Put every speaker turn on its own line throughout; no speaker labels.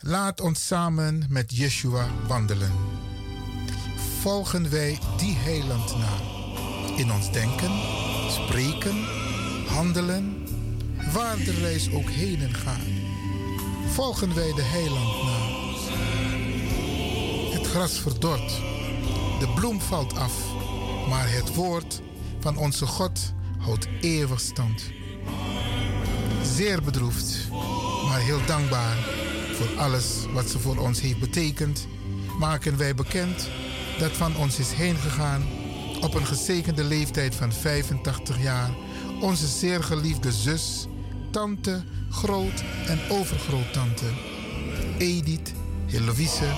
Laat ons samen met Yeshua wandelen. Volgen wij die heiland na. In ons denken, spreken, handelen, waar de reis ook heen gaat. Volgen wij de heiland na. Het gras verdort, de bloem valt af, maar het woord van onze God houdt eeuwig stand. Zeer bedroefd, maar heel dankbaar voor alles wat ze voor ons heeft betekend, maken wij bekend dat van ons is heengegaan op een gezegende leeftijd van 85 jaar onze zeer geliefde zus, tante, groot- en overgroottante Edith Heloïse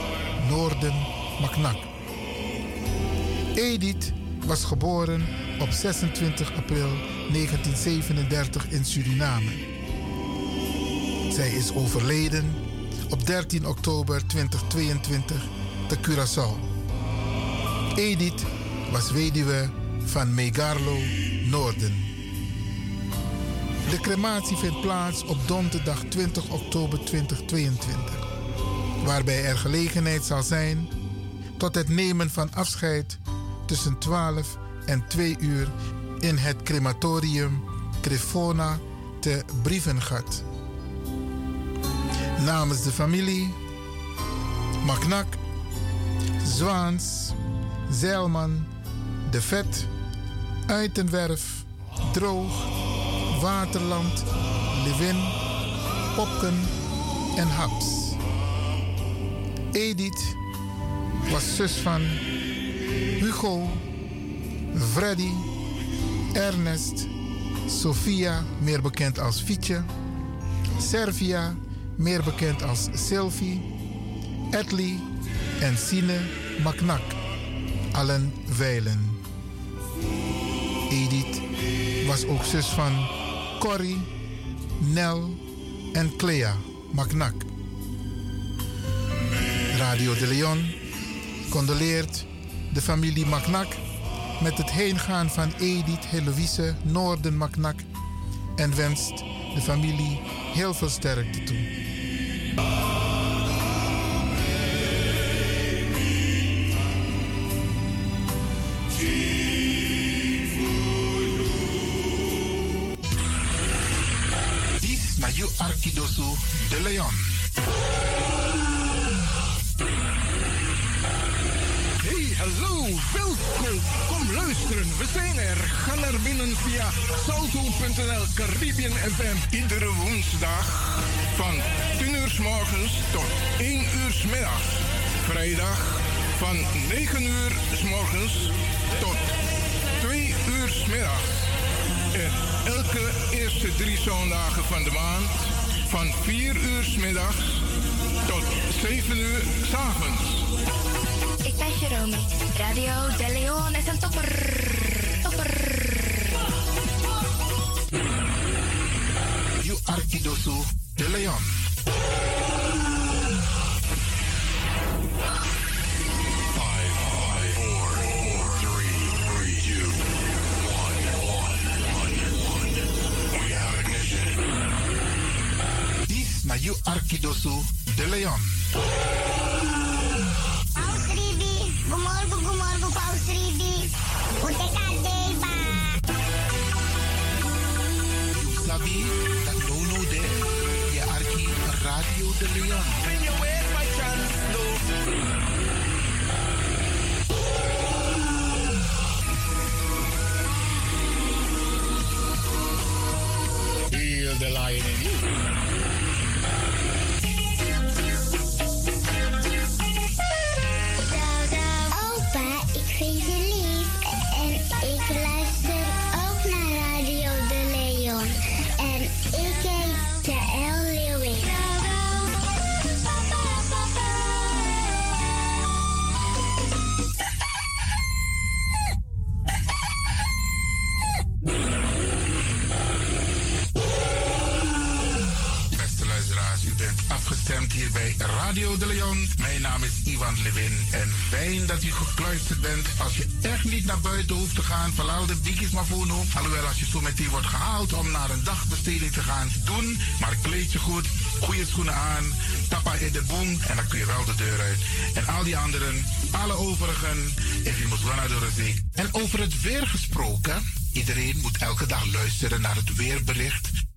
Noorden Maknak. Edith was geboren op 26 april 1937 in Suriname. Zij is overleden op 13 oktober 2022 te Curaçao. Edith was weduwe van Megarlo Noorden. De crematie vindt plaats op donderdag 20 oktober 2022, waarbij er gelegenheid zal zijn tot het nemen van afscheid tussen 12 en 2 uur in het crematorium Crefona te Brievengat. Namens de familie, Maknak, Zwaans, Zeilman, De Vet, Uitenwerf, Droog, Waterland, Lewin, Popken en Haps. Edith was zus van Hugo, Freddy, Ernest, Sofia, meer bekend als Fietje, Servia, meer bekend als Sylvie, Edley en Sine Maknak, allen Weilen. Edith was ook zus van Corrie, Nel en Clea Maknak. Radio de Leon condoleert de familie Maknak met het heengaan van Edith Heloïse Noorden Maknak en wenst de familie heel veel sterkte toe. This na you Arkidosu de Leon.
Hey, hallo, welkom. Kom luisteren, we zijn er. Ga naar binnen via salto.nl Caribbean FM. Iedere woensdag van 10 uur s morgens tot 1 uur s middags. Vrijdag van 9 uur s morgens tot 2 uur s middags. En elke eerste drie zondagen van de maand van 4 uur s middags tot 7 uur s avonds.
Ik ben Jerome. Radio De Leon is een topper. Topper.
You Arkidosu de Leon. This na you Arkidosu de Leon.
Paus Ribi, gumorgo, gumorgo, Paus Ribi. Ute kadeba.
Sabi dat dono de je Arki Radio de Leon.
Feel the lion in you.
Opa, ik vind je lief. En ik luister ook naar Radio De Leon. En ik heet Jaël Leeuwin.
bent afgestemd hier bij Radio de Leon. Mijn naam is Ivan Levin en fijn dat u gekluisterd bent. Als je echt niet naar buiten hoeft te gaan, verlaal de bikkies maar voor nu. Alhoewel, als je zo meteen wordt gehaald om naar een dagbesteding te gaan, doen. Maar kleed je goed, goede schoenen aan, tappa in de boom en dan kun je wel de deur uit. En al die anderen, alle overigen, if you must run out of the zee. En over het weer gesproken, iedereen moet elke dag luisteren naar het weerbericht.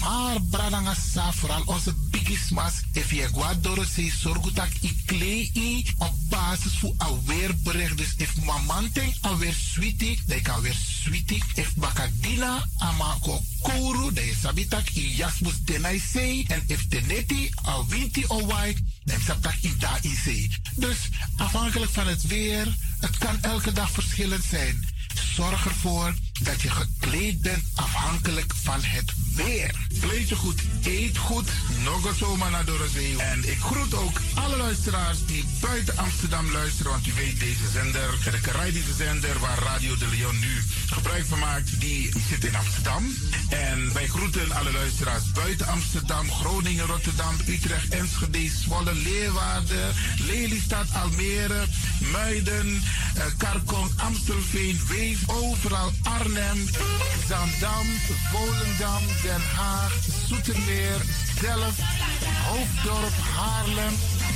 Maar bradangasa, vooral onze bigismas, if je gaat door zee, zorg dat ik klei i op basis van een weerbericht. Dus if mamante aan weer sweetie, dan kan weer sweetie. If bakadina amako kouru, dan is abitak i jasmus denai zee. En if teneti, a winti o wai, dan is abitak i da i zee. Dus afhankelijk van het weer, het kan elke dag verschillend zijn. Zorg ervoor dat je gekleed bent afhankelijk van het weer. Kleed je goed, eet goed. Nog een zomaar naar Dorozee. En ik groet ook alle luisteraars die buiten Amsterdam luisteren. Want u weet, deze zender, de Caribische zender waar Radio de Leon nu gebruik van maakt, die zit in Amsterdam. En wij groeten alle luisteraars buiten Amsterdam, Groningen, Rotterdam, Utrecht, Enschede, Zwolle, Leeuwarden, Lelystad, Almere, Muiden, eh, Karkong, Amstelveen, Weef, overal Arnhem, Zandam, Volendam, Den Haag, Zoetermeer, Delft, Hoofddorp, Haarlem,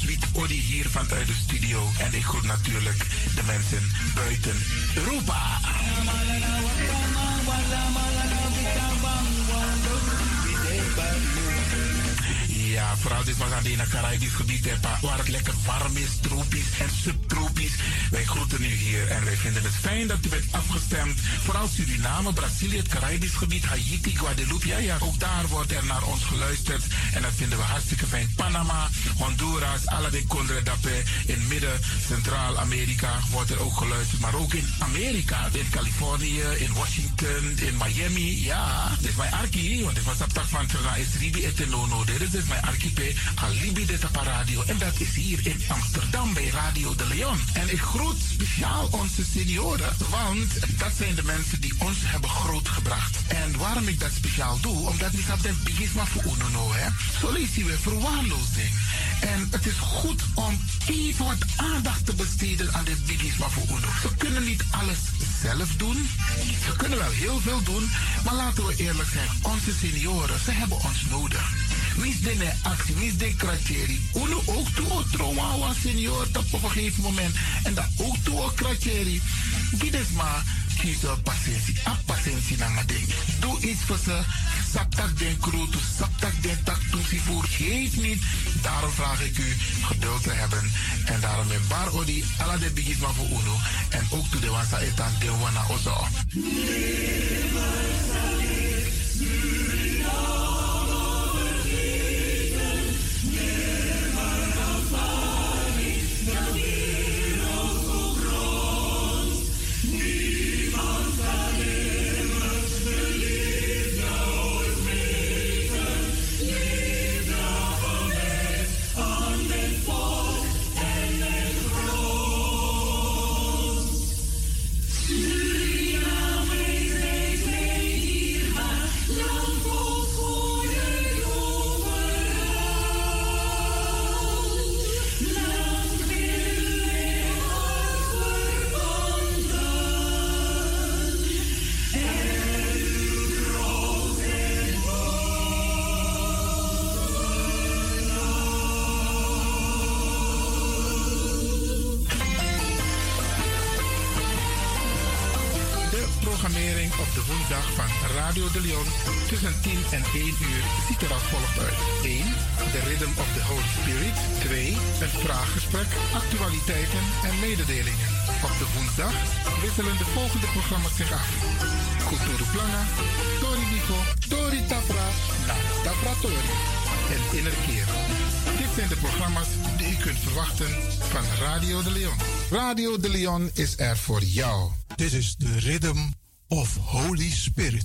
Sweet Odi hier vanuit de studio. En ik groet natuurlijk de mensen buiten Europa. Ja, vooral dit was aan het Caribisch gebied, hè, pa, waar het lekker warm is, tropisch en subtropisch. Wij groeten u hier en wij vinden het fijn dat u bent afgestemd. Vooral Suriname, Brazilië, het Caribisch gebied, Haiti, Guadeloupe. Ja, ja, ook daar wordt er naar ons geluisterd en dat vinden we hartstikke fijn. Panama, Honduras, Aladdin Condre Dapé, in midden, Centraal-Amerika wordt er ook geluisterd. Maar ook in Amerika, in Californië, in Washington, in Miami. Ja, dit is mijn arki, want dit was op dag van Tana is Ribi et Nono. Dit is dus mijn archipel, Alibi de Taparadio. En dat is hier in Amsterdam bij Radio de Leon. En ik groet speciaal onze senioren, want dat zijn de mensen die ons hebben grootgebracht. En waarom ik dat speciaal doe, omdat ik dat den bigisma voor Unono, hè. Zo lezen we verwaarloosding. En het is goed om even wat aandacht te besteden aan de bigisma voor Uno. Ze kunnen niet alles zelf doen. Ze kunnen wel heel veel doen. Maar laten we eerlijk zijn, onze senioren, ze hebben ons nodig. Wie is de actie, wie is de kratjeri? Uno ook toe, trauma was senior da, op een gegeven moment. da, En dat ook toe, kratjeri. Gides maar, kies op patiëntie. A patiëntie naar mijn ding. Doe iets voor ze. Saptak den kroot, saptak den tak toesivoer. Geef niet. Daarom vraag ik u geduld te hebben. En daarom met bar odi, ala de bigisma voor Uno. En ook toe de wasa etan de wana ozo. De programmering op de woensdag van Radio de Leon tussen 10 en 1 uur ziet er als volgt uit. 1. The Rhythm of the Holy Spirit. 2.
Het vraaggesprek, actualiteiten en mededelingen. Op de woensdag wisselen de volgende programma's zich af. Cultura Plana, Tori Nico, Tori Tapra, Na Tapra Tori en Innerkeer. Dit zijn de programma's die u kunt verwachten van Radio de Leon.
Radio de Leon is er voor jou.
Dit is de Rhythm of Holy Spirit.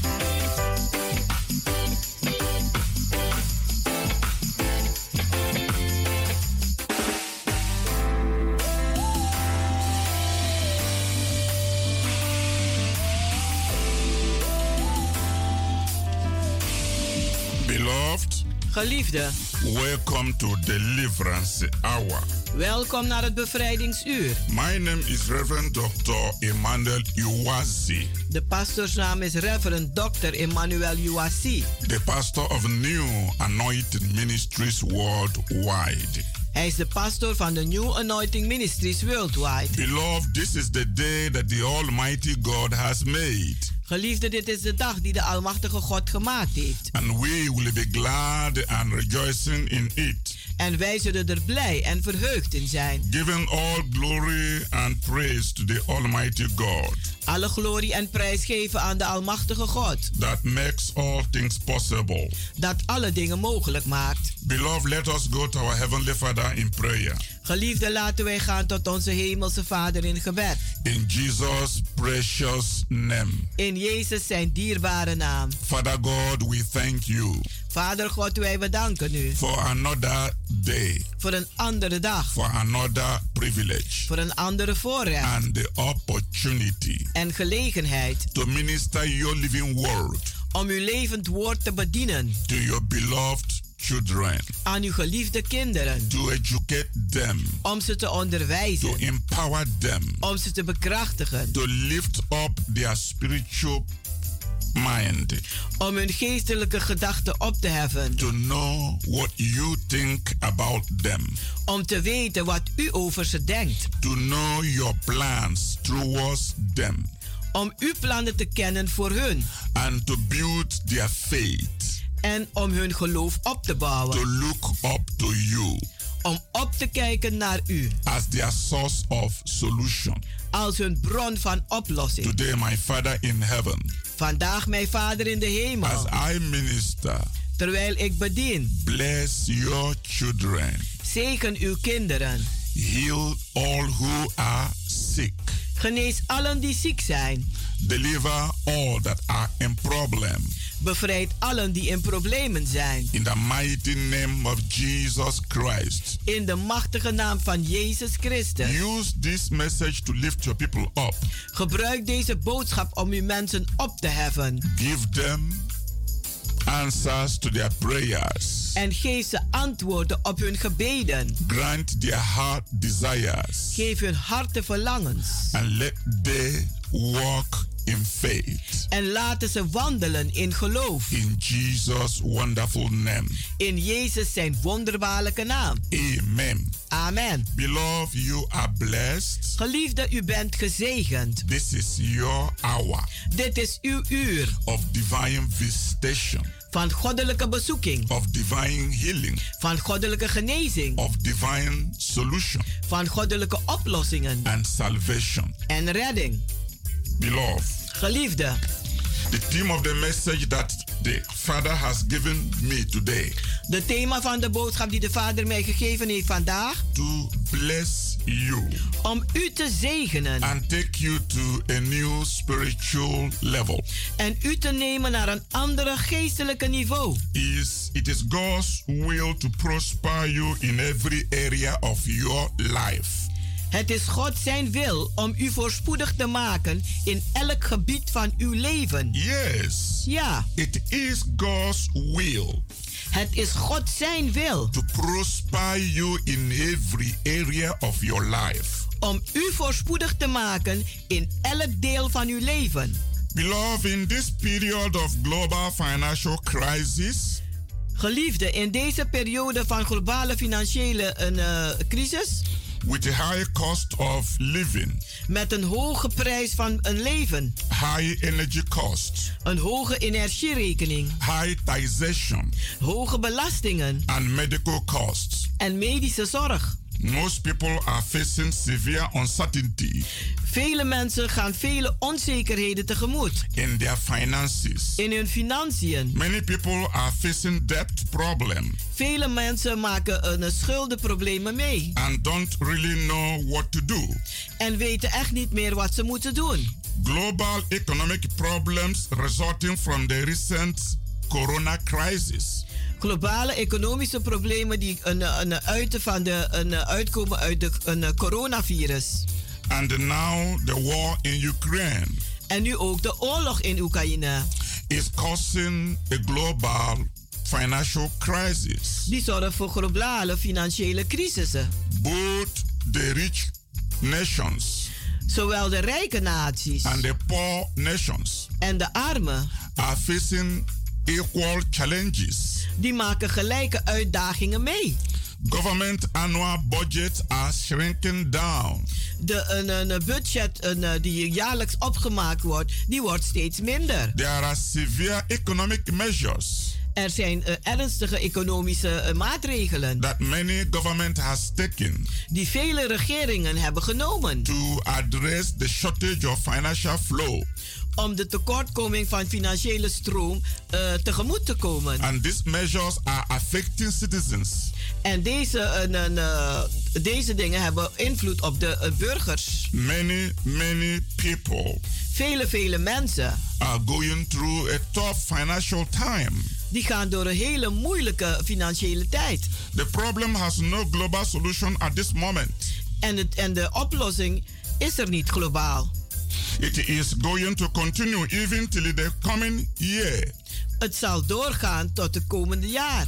Beloved,
Geliefde,
welcome to Deliverance Hour.
welkom naar het bevrijdingsuur.
My name is Reverend Dr. Emmanuel Iwazi,
De pastorsnaam is Reverend Dr. Emmanuel Uwasi.
the pastor of New Anointed Ministries Worldwide.
Hij is de pastor van de New Anointing Ministries Worldwide.
Beloved, this is the day that the Almighty God has made,
Geliefde, dit is de dag die de Almachtige God gemaakt heeft.
and we will be glad and rejoicing in it,
En wij zullen er blij en verheugd in zijn.
giving all glory and praise to the Almighty God
Alle glorie en prijs geven aan de Almachtige God,
that makes all things possible.
dat alle dingen mogelijk maakt.
Beloved, let us go to our Heavenly Father in prayer.
Geliefde, laten wij gaan tot onze Hemelse Vader in gebed.
In Jesus' precious name.
In Jezus zijn dierbare naam.
Father God, we thank you
Vader God, wij bedanken u
for another day,
voor een andere dag,
for another privilege,
voor een andere voorrecht
and the opportunity
en gelegenheid
to minister your living word
om uw levend woord te bedienen
to your beloved children,
aan uw geliefde kinderen,
to educate them,
om ze te
to
onderwijzen,
empower them,
om ze te bekrachtigen,
to lift up their spiritual mind,
om hun geestelijke gedachten op te heffen,
to know what you think about them.
om te weten wat u over ze denkt,
to know your plans towards them
om uw plannen te kennen voor hun
and to build their faith,
en om hun geloof op te
to
bouwen,
look up to you
om op te kijken naar u
as their source of solution.
als hun bron van oplossing.
Today, my Father in heaven,
Vandaag, mijn Vader in de
as
hemel,
I minister,
terwijl ik bedien,
bless your children,
zegen uw kinderen.
heal all who are sick,
Genees allen die ziek zijn.
deliver all that are in problem.
Bevrijd allen die in problemen zijn.
In the mighty name of Jesus Christ,
In de machtige naam van Jezus Christus.
use this message to lift your people up.
Gebruik deze boodschap om uw mensen op te heffen.
give them answers to their prayers,
En geef ze antwoorden op hun gebeden.
grant their heart desires,
Geef hun harten verlangens.
and let they walk in faith.
En laten ze wandelen in geloof.
In Jesus' wonderful name.
In Jezus zijn wonderbaarlijke naam.
Amen.
Amen.
Beloved, you are blessed.
Geliefde, u bent gezegend.
This is your hour
Dit is uw uur
of divine visitation,
van goddelijke bezoeking,
of divine healing,
van goddelijke genezing,
of divine solution
van goddelijke oplossingen
and salvation.
en redding.
Beloved,
Geliefde,
The theme of the message that the Father has given me today
de thema van de boodschap die de Vader mij gegeven heeft vandaag,
to bless you
om u te zegenen
and take you to a new spiritual level
en u te nemen naar een andere geestelijke niveau.
is it is God's will to prosper you in every area of your life.
Het is God zijn wil om u voorspoedig te maken in elk gebied van uw leven.
Yes.
Ja,
It is God's will
het is God zijn wil
to prosper you in every area of your life.
om u voorspoedig te maken in elk deel van uw leven.
Beloved, in this period of global financial crisis,
Geliefde, in deze periode van globale financiële een, eh, crisis
with a high cost of living,
met een hoge prijs van een leven,
high energy costs,
een hoge energierekening,
high taxation,
hoge belastingen
and medical costs,
en medische zorg.
most people are facing severe uncertainty
Vele mensen gaan vele onzekerheden tegemoet
in their finances.
in hun financiën.
Many people are facing debt problem
Vele mensen maken een eh, schuldenproblemen mee
and don't really know what to do.
en weten echt niet meer wat ze moeten doen.
Global economic problems resulting from the recent corona crisis
Globale economische problemen die een, eh, een uiten van de, een eh, uitkomen uit de, een eh, coronavirus.
and now the war in Ukraine
En nu ook de oorlog in Oekraïne.
is causing a global financial crisis.
Die zorgt voor globale financiële crisissen.
Both the rich nations
Zowel de rijke naties
and the poor nations
en de armen,
are facing equal challenges.
die maken gelijke uitdagingen mee.
Government annual budgets are shrinking down.
De, een, een een budget een, eh, die jaarlijks opgemaakt wordt, die wordt steeds minder.
There are severe economic measures
Er zijn eh, ernstige economische eh, maatregelen
that many government has taken
die vele regeringen hebben genomen
to address the shortage of financial flow
om de tekortkoming van financiële stroom eh, tegemoet te komen.
Ah.
and these measures are affecting citizens
En deze, een, een, eh, deze dingen hebben invloed op de eh, burgers.
many many people
Vele, vele mensen
are going through a tough financial time
die gaan door een hele moeilijke financiële tijd.
the problem has no global solution at this moment
En, het, en de oplossing is er niet globaal.
it is going to continue even till the coming year
Het zal doorgaan tot de komende jaar.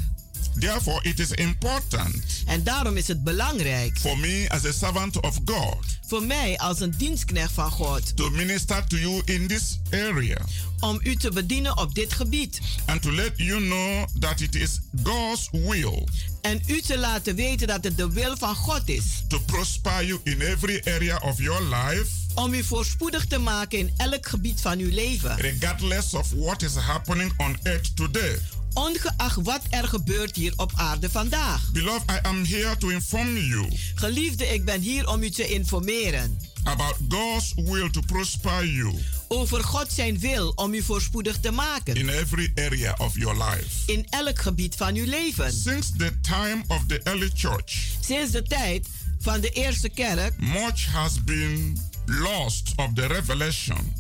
therefore it is important
En daarom is het belangrijk
for me as a servant of god
voor mij als een dienstknecht van God
to minister to you in this area
om u te bedienen op dit gebied.
and to let you know that it is God's will
En u te laten weten dat het de wil van God is
to prosper you in every area of your life,
om u voorspoedig te maken in elk gebied van uw leven.
regardless of what is happening on earth today.
Ongeacht wat er gebeurt hier op aarde vandaag.
Beloved, I am here to inform you
Geliefde, ik ben hier om u te informeren
about God's will to prosper you
over God zijn wil om u voorspoedig te maken
in every area of your life.
in elk gebied van uw leven.
Since the time of the early church,
Sinds de tijd van de eerste kerk
much has been lost of the revelation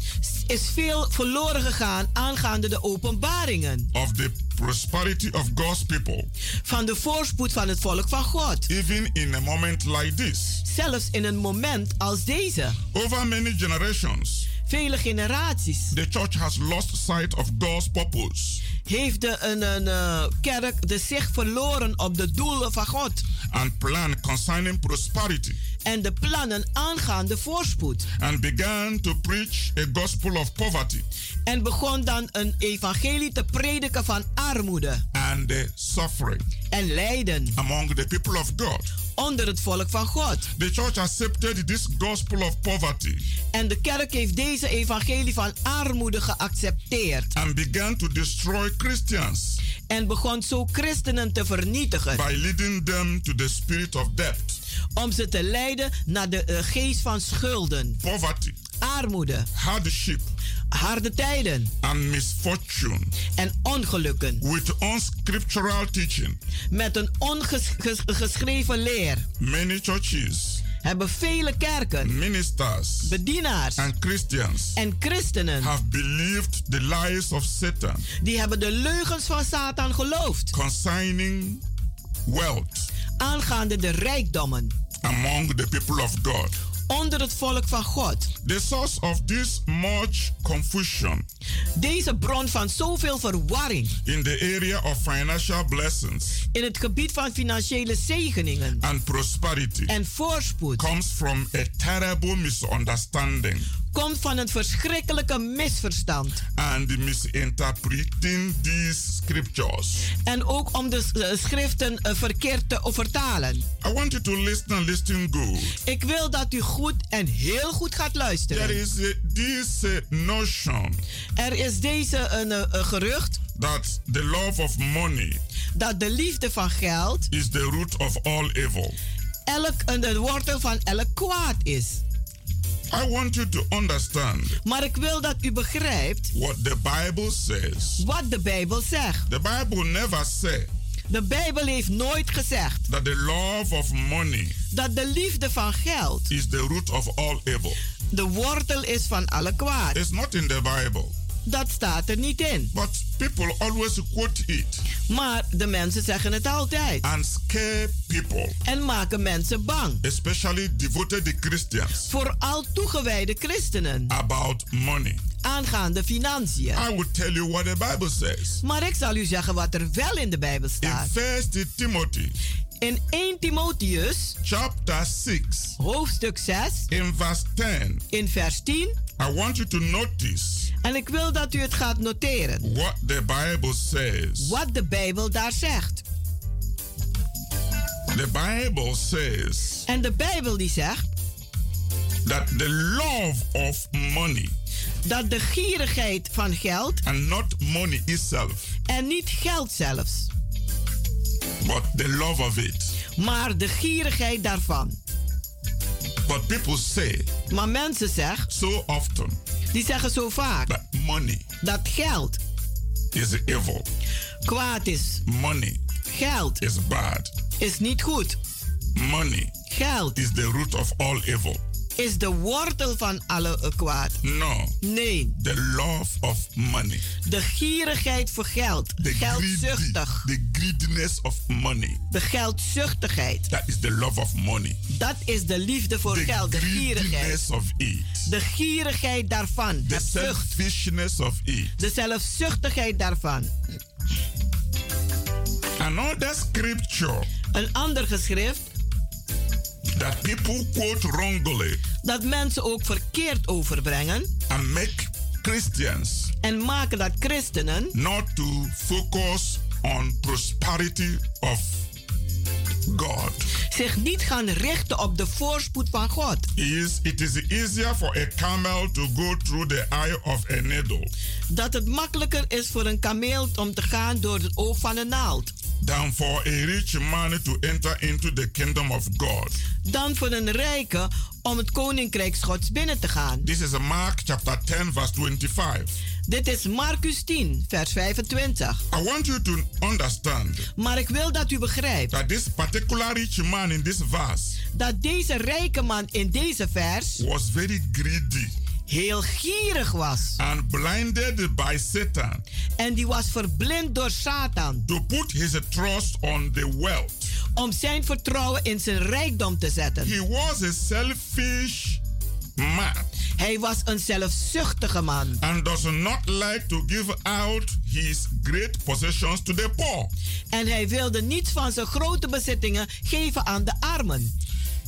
is veel verloren gegaan aangaande de openbaringen
of the prosperity of God's people.
van de voorspoed van het volk van God.
even in a moment like this.
Zelfs in een moment als deze.
Over many generations,
Vele generaties
the church has lost sight of God's purpose
heeft de een, een, eh, kerk de zicht verloren op de doelen van God
and plan concerning prosperity
en de plannen aangaande voorspoed.
and began to preach a gospel of poverty
En begon dan een evangelie te prediken van armoede
and uh, suffering
en lijden
among the people of God.
onder het volk van God.
The church accepted this gospel of poverty
En de kerk heeft deze evangelie van armoede geaccepteerd
and began to destroy Christians
en begon zo christenen te vernietigen.
by leading them to the spirit of debt,
om ze te leiden naar de eh, geest van schulden,
poverty,
armoede,
hardship,
harde tijden
and misfortune
en ongelukken.
with unscriptural teaching.
Met een ongeschreven leer
Many churches,
hebben vele kerken,
ministers,
bedienaars
and Christians
en christenen
have believed the lies of Satan
die hebben de leugens van Satan geloofd
concerning wealth
aangaande de rijkdommen
among the people of God.
onder het volk van God.
The source of this much confusion
Deze bron van zoveel verwarring
in the area of financial blessings
in het gebied van financiële zegeningen
and prosperity
en voorspoed
comes from a terrible misunderstanding
komt van een verschrikkelijke misverstand.
and misinterpreting these scriptures.
En ook om de eh, schriften eh, verkeerd te vertalen.
I want you to listen and listen good.
Ik wil dat u goed en heel goed gaat
There
luisteren.
is a- this uh, notion
Er is deze een, eh, eh, gerucht
that the love of money
dat de liefde van geld
is the root of all evil.
elk, een- de wortel van elk kwaad is.
I want you to understand
Maar ik wil dat u begrijpt
what the Bible says.
wat de Bijbel zegt.
The Bible never said
De Bijbel heeft nooit gezegd
that the love of money
dat de liefde van geld
is the root of all evil.
de wortel is van alle kwaad.
It's not in the Bible,
Dat staat er niet in.
but people always quote it
Maar de mensen zeggen het altijd.
and scare people,
En maken mensen bang.
especially devoted Christians,
Vooral toegewijde christenen
about money.
aangaande financiën.
I will tell you what the Bible says.
Maar ik zal u zeggen wat er wel in de Bijbel
In
staat.
First Timothy
In 1 Timotheus,
chapter 6,
hoofdstuk 6,
in verse 10,
in vers 10.
I want you to notice
En ik wil dat u het gaat noteren.
what the Bible says.
Wat de Bijbel daar zegt.
The Bible says
En de Bijbel die zegt
that the love of money
dat de gierigheid van geld
and not money itself,
en niet geld zelfs,
but the love of it.
maar de gierigheid daarvan.
But people say
Maar mensen zeggen,
so often
die zeggen zo vaak
that money
dat geld
is evil,
kwaad is.
money
Geld
is bad,
is niet goed.
money
Geld
is the root of all evil.
is de wortel van alle eh, kwaad.
No,
Nee,
the love of money,
de gierigheid voor geld.
the, greedy,
Geldzuchtig.
the greediness of money,
De geldzuchtigheid.
that is the love of money,
Dat is de liefde voor
the
geld. De gierigheid.
greediness of it,
De gierigheid daarvan.
the
Het zucht.
selfishness of it.
De zelfzuchtigheid daarvan.
Another scripture
Een ander geschrift
that people quote wrongly
dat mensen ook verkeerd overbrengen.
and make Christians
En maken dat christenen
not to focus on prosperity of God
zich niet gaan richten op de voorspoed van God.
is it is easier for a camel to go through the eye of a needle
Dat het makkelijker is voor een kameel om te gaan door het oog van een naald.
than for a rich man to enter into the kingdom of God.
Dan voor een rijke om het koninkrijk Gods binnen te gaan.
This is Mark chapter 10 verse 25.
Dit is Marcus 10, vers 25.
I want you to understand
Maar ik wil dat u begrijpt
that this particular rich man in this verse
dat deze rijke man in deze vers
was very greedy.
heel gierig was.
and blinded by Satan
En die was verblind door Satan
to put his trust on the wealth.
om zijn vertrouwen in zijn rijkdom te zetten.
He was a selfish man
Hij was een zelfzuchtige man.
and does not like to give out his great possessions to the poor.
En hij wilde niets van zijn grote bezittingen geven aan de armen.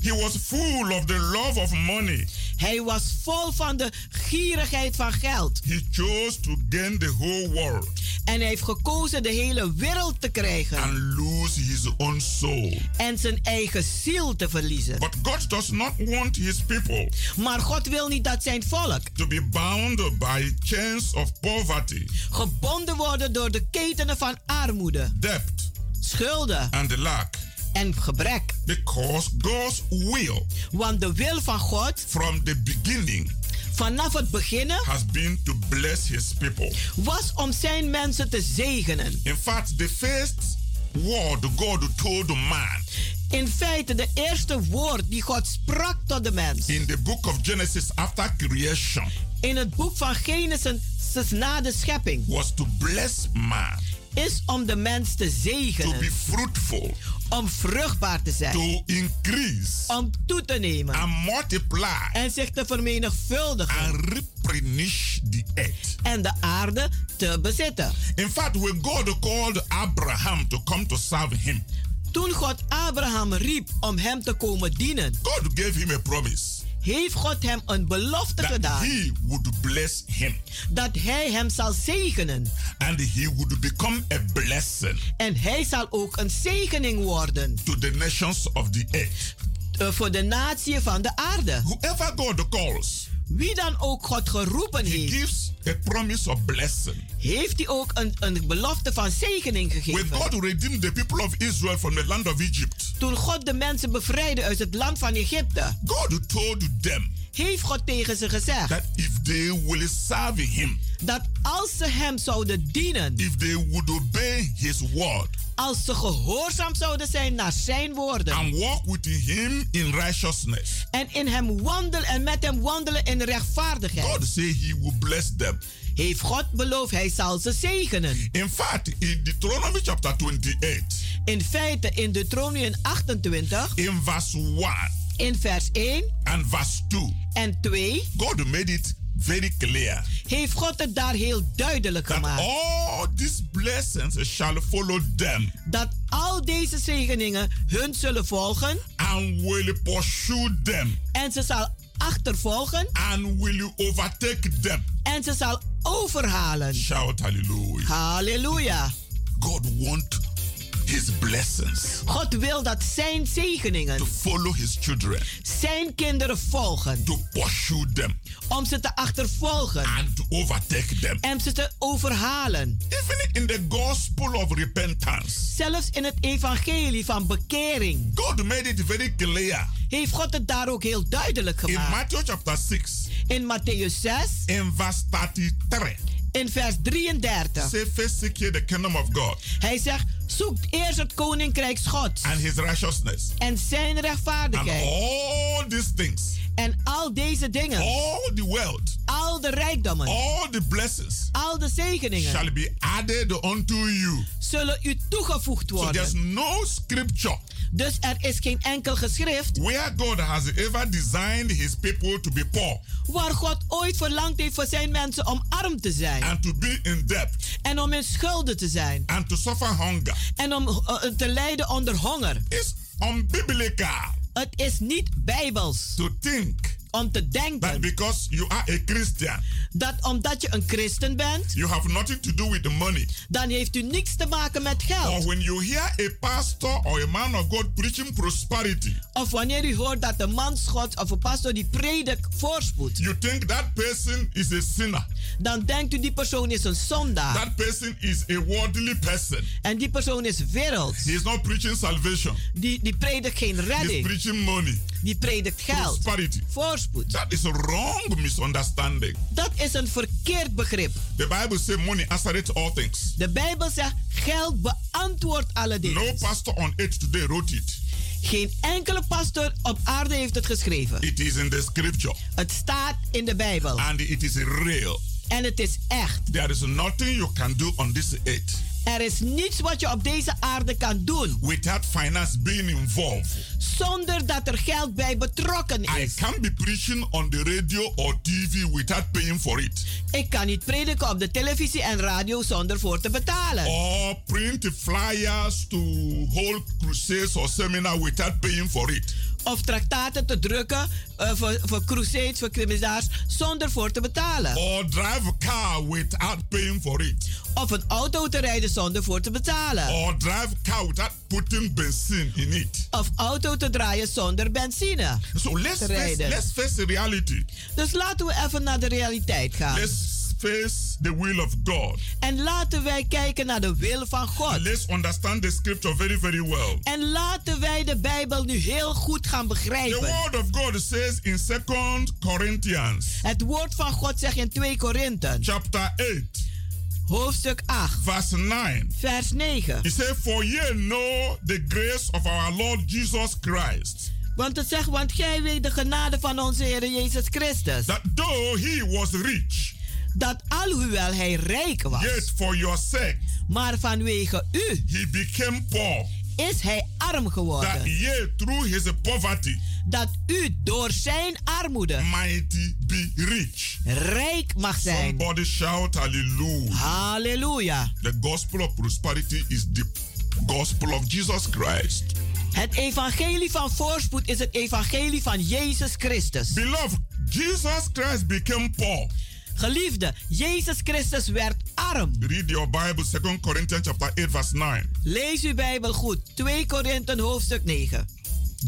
He was full of the love of money.
Hij was vol van de gierigheid van geld.
He chose to gain the whole world
En hij heeft gekozen de hele wereld te krijgen.
and lose his own soul.
En zijn eigen ziel te verliezen.
But God does not want his people
Maar God wil niet dat zijn volk
to be bound by chains of poverty,
gebonden worden door de ketenen van armoede,
debt,
schulden
and lack.
en gebrek.
Because God's will
Want de wil van God
from the beginning
vanaf het beginnen
has been to bless his people.
was om zijn mensen te zegenen.
In fact, the first word God told man
In feite, de eerste woord die God sprak tot de mens
in the book of Genesis after creation
in het boek van Genesis na de schepping
was to bless man.
is om de mens te
to be
zegenen,
fruitful,
om vruchtbaar te zijn,
to increase
om toe te nemen
and multiply
en zich te vermenigvuldigen
and replenish the earth.
en de aarde te bezitten.
In fact, when God called Abraham to come to serve him,
Toen God Abraham riep om hem te komen dienen,
God gave him a promise
heeft God hem een belofte
that
gedaan
he would bless him
dat hij hem zal zegenen.
and he would become a blessing
En hij zal ook een zegening worden
to the nations of the earth.
eh, voor de natie van de aarde.
Whoever God calls,
Wie dan ook God geroepen
he
heeft,
gives a promise of blessing.
heeft hij ook een, een belofte van zegening
When
gegeven.
God redeemed the people of Israel from the land of Egypt,
Toen God de mensen bevrijdde uit het land van Egypte,
God told them
heeft God tegen ze gezegd
that if they will serve him,
dat als ze hem zouden dienen,
if they would obey his word
als ze gehoorzaam zouden zijn naar zijn woorden
and walk with him in righteousness,
en in hem wandelen en met hem wandelen in rechtvaardigheid,
God say he will bless them.
heeft God beloofd hij zal ze zegenen.
In fact, in Deuteronomy chapter 28,
In feite in Deuteronomium 28,
in verse 1
in vers 1
and verse 2,
en 2,
God made it very clear
heeft God het daar heel duidelijk
that
gemaakt.
all these blessings shall follow them
dat al deze zegeningen hun zullen volgen
and will pursue them
en ze zal achtervolgen
and will overtake them.
en ze zal overhalen.
Shout hallelujah.
Halleluja.
God wants his blessings
God wil dat zijn
to
zegeningen
follow his children,
zijn kinderen volgen
to pursue them,
om ze te achtervolgen
and to overtake them.
en ze te overhalen.
Even in the gospel of repentance,
Zelfs in het evangelie van bekering
God made it very clear
heeft God het daar ook heel duidelijk
in
gemaakt.
Matthew chapter 6,
In Matthäus 6,
in verse 33.
in vers 33.
Say, first seek ye the kingdom of God
Hij zegt, zoek eerst het koninkrijk Gods
and his righteousness,
en zijn
and
rechtvaardigheid.
all these things,
En al deze dingen,
all the wealth,
al de rijkdommen,
all the blessings
al de zegeningen
shall be added unto you.
zullen u toegevoegd
So there's
worden.
no scripture
Dus er is geen enkel geschrift
where God has ever designed his people to be poor
waar God ooit verlangd heeft voor zijn mensen om arm te zijn
and to be in debt
en om in schulden te zijn
and to suffer hunger.
en om eh, eh, te lijden onder honger.
It's unbiblical
Het is niet bijbels
to think
om te
that
denken
because you are a Christian,
dat omdat je een christen bent,
you have nothing to do with the money.
dan heeft u niks te maken met
Or
geld.
when you hear a pastor or a man of God preaching prosperity,
Of wanneer u hoort dat een man God of een pastor die predikt voorspoed,
you think that person is a sinner.
dan denkt u die persoon is een zondaar.
That person is a worldly person.
En die persoon is werelds.
He is not preaching salvation.
Die, die predikt geen
He is
redding.
preaching money,
Die predikt geld.
prosperity.
Voorspoed.
That is a wrong misunderstanding.
Dat is een verkeerd begrip.
The Bible says money answereth all things.
De Bijbel zegt, geld beantwoordt alle
No
dingen.
pastor on earth today wrote it.
Geen enkele pastor op aarde heeft het geschreven.
It is in the scripture
Het staat in de Bijbel.
and it is real.
En het is echt.
There is nothing you can do on this earth
Er is niets wat je op deze aarde kan doen
without finance being involved.
zonder dat er geld bij betrokken
I
is.
can't be preaching on the radio or TV without paying for it
Ik kan niet prediken op de televisie en radio zonder voor te betalen.
or print flyers to hold crusades or seminar without paying for it.
Of traktaten te drukken eh, voor, voor crusades, voor criminals zonder voor te betalen.
Or drive a car without paying for it.
Of een auto te rijden zonder voor te betalen.
Or drive car without putting benzine in it.
Of auto te draaien zonder benzine.
So let's
te
face,
rijden.
let's face the reality.
Dus laten we even naar de realiteit gaan.
Let's face the will of God.
En laten wij kijken naar de wil van God.
Let's understand the scripture very, very well.
En laten wij de Bijbel nu heel goed gaan
The
begrijpen.
word of God says in 2 Corinthians
Het woord van God zegt in 2 Korinthe,
chapter 8,
hoofdstuk 8,
verse 9.
vers 9.
He said, For ye know the grace of our Lord Jesus Christ,
Want het zegt, want gij weet de genade van onze Heer Jezus Christus.
that though he was rich,
dat alhoewel hij rijk was,
yet for your sake
maar vanwege u
he became poor,
is hij arm
that
geworden.
yea through his poverty
Dat u door zijn armoede
might be rich.
rijk mag zijn.
Somebody shout hallelujah.
Halleluja.
The gospel of prosperity is the gospel of Jesus Christ.
Het evangelie van voorspoed is het evangelie van Jezus Christus.
Beloved, Jesus Christ became poor.
Geliefde, Jezus Christus werd arm.
Read your Bible, 2 Corinthians chapter 8, verse 9.
Lees uw Bijbel goed. 2 Korinthe hoofdstuk 9. 8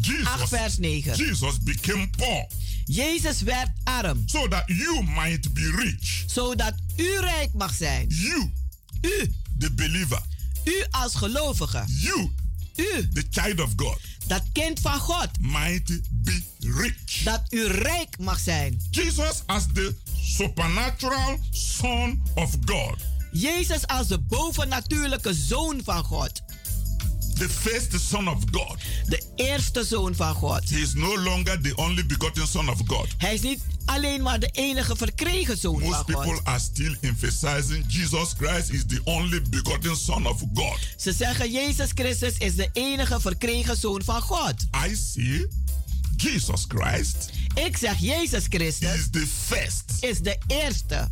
Jesus,
vers 9.
Jesus became poor
Jezus werd arm,
so that you might be rich.
zodat u rijk mag zijn.
You,
U,
the believer,
u als gelovige,
you,
u,
the child of God,
dat kind van God,
might be rich.
dat u rijk mag zijn.
Jesus as the supernatural Son of God,
Jezus als de bovennatuurlijke zoon van God,
the first Son of God.
de eerste zoon van God.
He is no longer the only begotten Son of God.
Hij is niet alleen maar de enige verkregen zoon
Most
van
people
God.
are still emphasizing Jesus Christ is the only begotten Son of God.
Ze zeggen Jezus Christus is de enige verkregen zoon van God.
I see Jesus Christ
Ik zeg Jezus Christus
is the first
is de eerste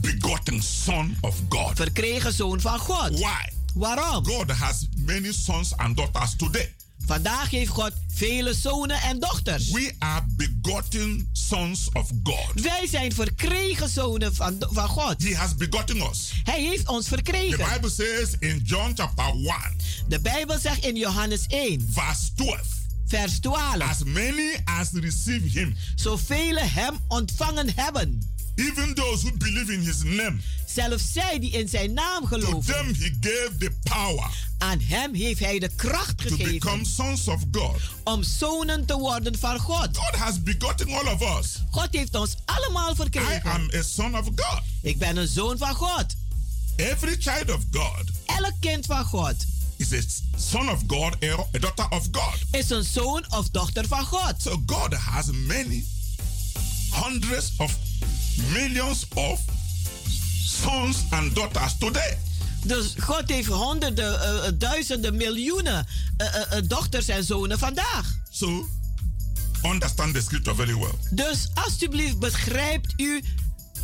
begotten Son of God.
verkregen zoon van God.
Why?
Waarom?
God has many sons and daughters today.
Vandaag heeft God vele zonen en dochters.
We are begotten sons of God.
Wij zijn verkregen zonen van, van God.
He has begotten us.
Hij heeft ons
The
verkregen.
Bible says in John chapter 1,
De Bijbel zegt in Johannes 1,
verse 12,
vers 12.
as many as receive him,
Zoveel hem ontvangen hebben.
even those who believe in his name,
Zelfs zij die in zijn naam
to
geloven.
them he gave the power
Aan hem heeft hij de kracht
to become
gegeven
sons of God.
om zonen te worden van God.
God has begotten all of us.
God heeft ons allemaal
I
verkregen.
am a son of God.
Ik ben een zoon van God.
Every child of God
Elk kind van God
is a son of God or a daughter of God.
is een zoon of dochter van God.
So God has many hundreds of millions of sons and daughters today.
Dus God heeft honderden, eh, eh, duizenden, miljoenen eh, eh, eh, dochters en zonen vandaag.
So understand the scripture very well.
Dus alstublieft begrijpt u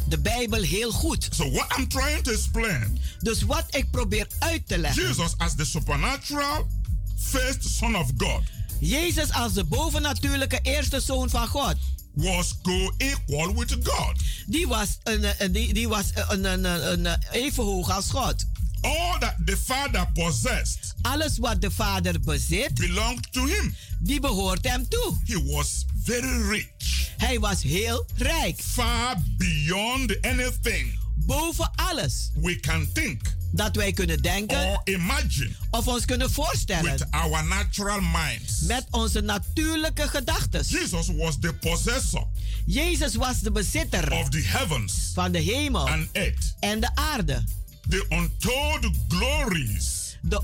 de Bijbel heel goed.
So what I'm trying to explain,
Dus wat ik probeer uit te leggen.
Jesus as the supernatural first son of God
Jezus als de bovennatuurlijke eerste zoon van God.
was co-equal with God.
Die was, een, eh, eh, die, die was eh, een, een, een, een, eh, even hoog als God.
All that the Father possessed
Alles wat de Vader bezit,
belonged to him.
die behoort hem toe.
He was very rich,
Hij was heel rijk.
far beyond anything
Boven alles
we can think
dat wij kunnen denken
or imagine
of ons kunnen voorstellen.
with our natural minds.
met onze natuurlijke gedachten.
Jesus was the possessor
Jezus was de bezitter
of the heavens
van de hemel
and earth,
en de aarde.
the untold glories
De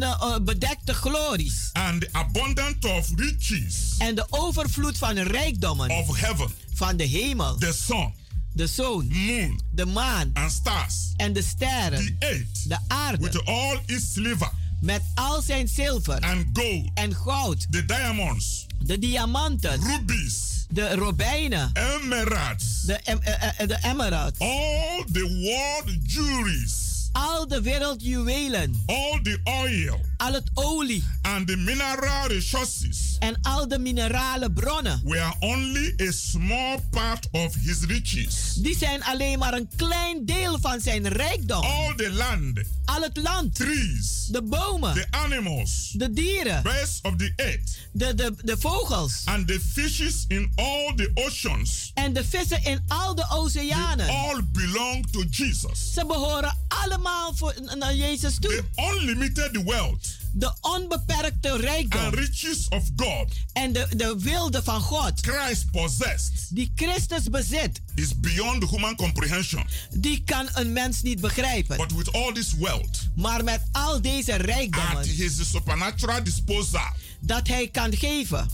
onbedekte glories
and the abundance of riches
en de overvloed van rijkdommen
of heaven,
van de hemel,
the sun,
de zoon,
moon,
de maan
and stars,
en de
the
sterren.
earth,
De
with
aarde
all its silver
met al zijn zilver
and gold,
en goud,
the diamonds,
de diamanten,
rubies,
de robijnen,
emeralds,
de, em- eh, eh, eh, de emerald,
all the world jewelries,
al de wereldjuwelen,
all the oil
al het olie
and the mineral resources
en al de minerale bronnen.
were only a small part of his riches.
Die zijn alleen maar een klein deel van zijn rijkdom.
All the land,
Al het land,
trees,
de bomen,
the animals,
de dieren,
birds of the earth,
de, de, de vogels
and the fishes in all the oceans,
en de vissen in al de oceanen.
all belong to Jesus.
Ze behoren allemaal voor, n- naar Jezus
The
toe.
unlimited wealth
De onbeperkte
and
rijkdom
riches of God
en de, de wilde van God
Christ possessed
die Christus bezit,
is beyond human comprehension.
die kan een mens niet begrijpen.
But with all this wealth
Maar met al deze
at
rijkdommen
his supernatural disposal,
dat hij kan geven,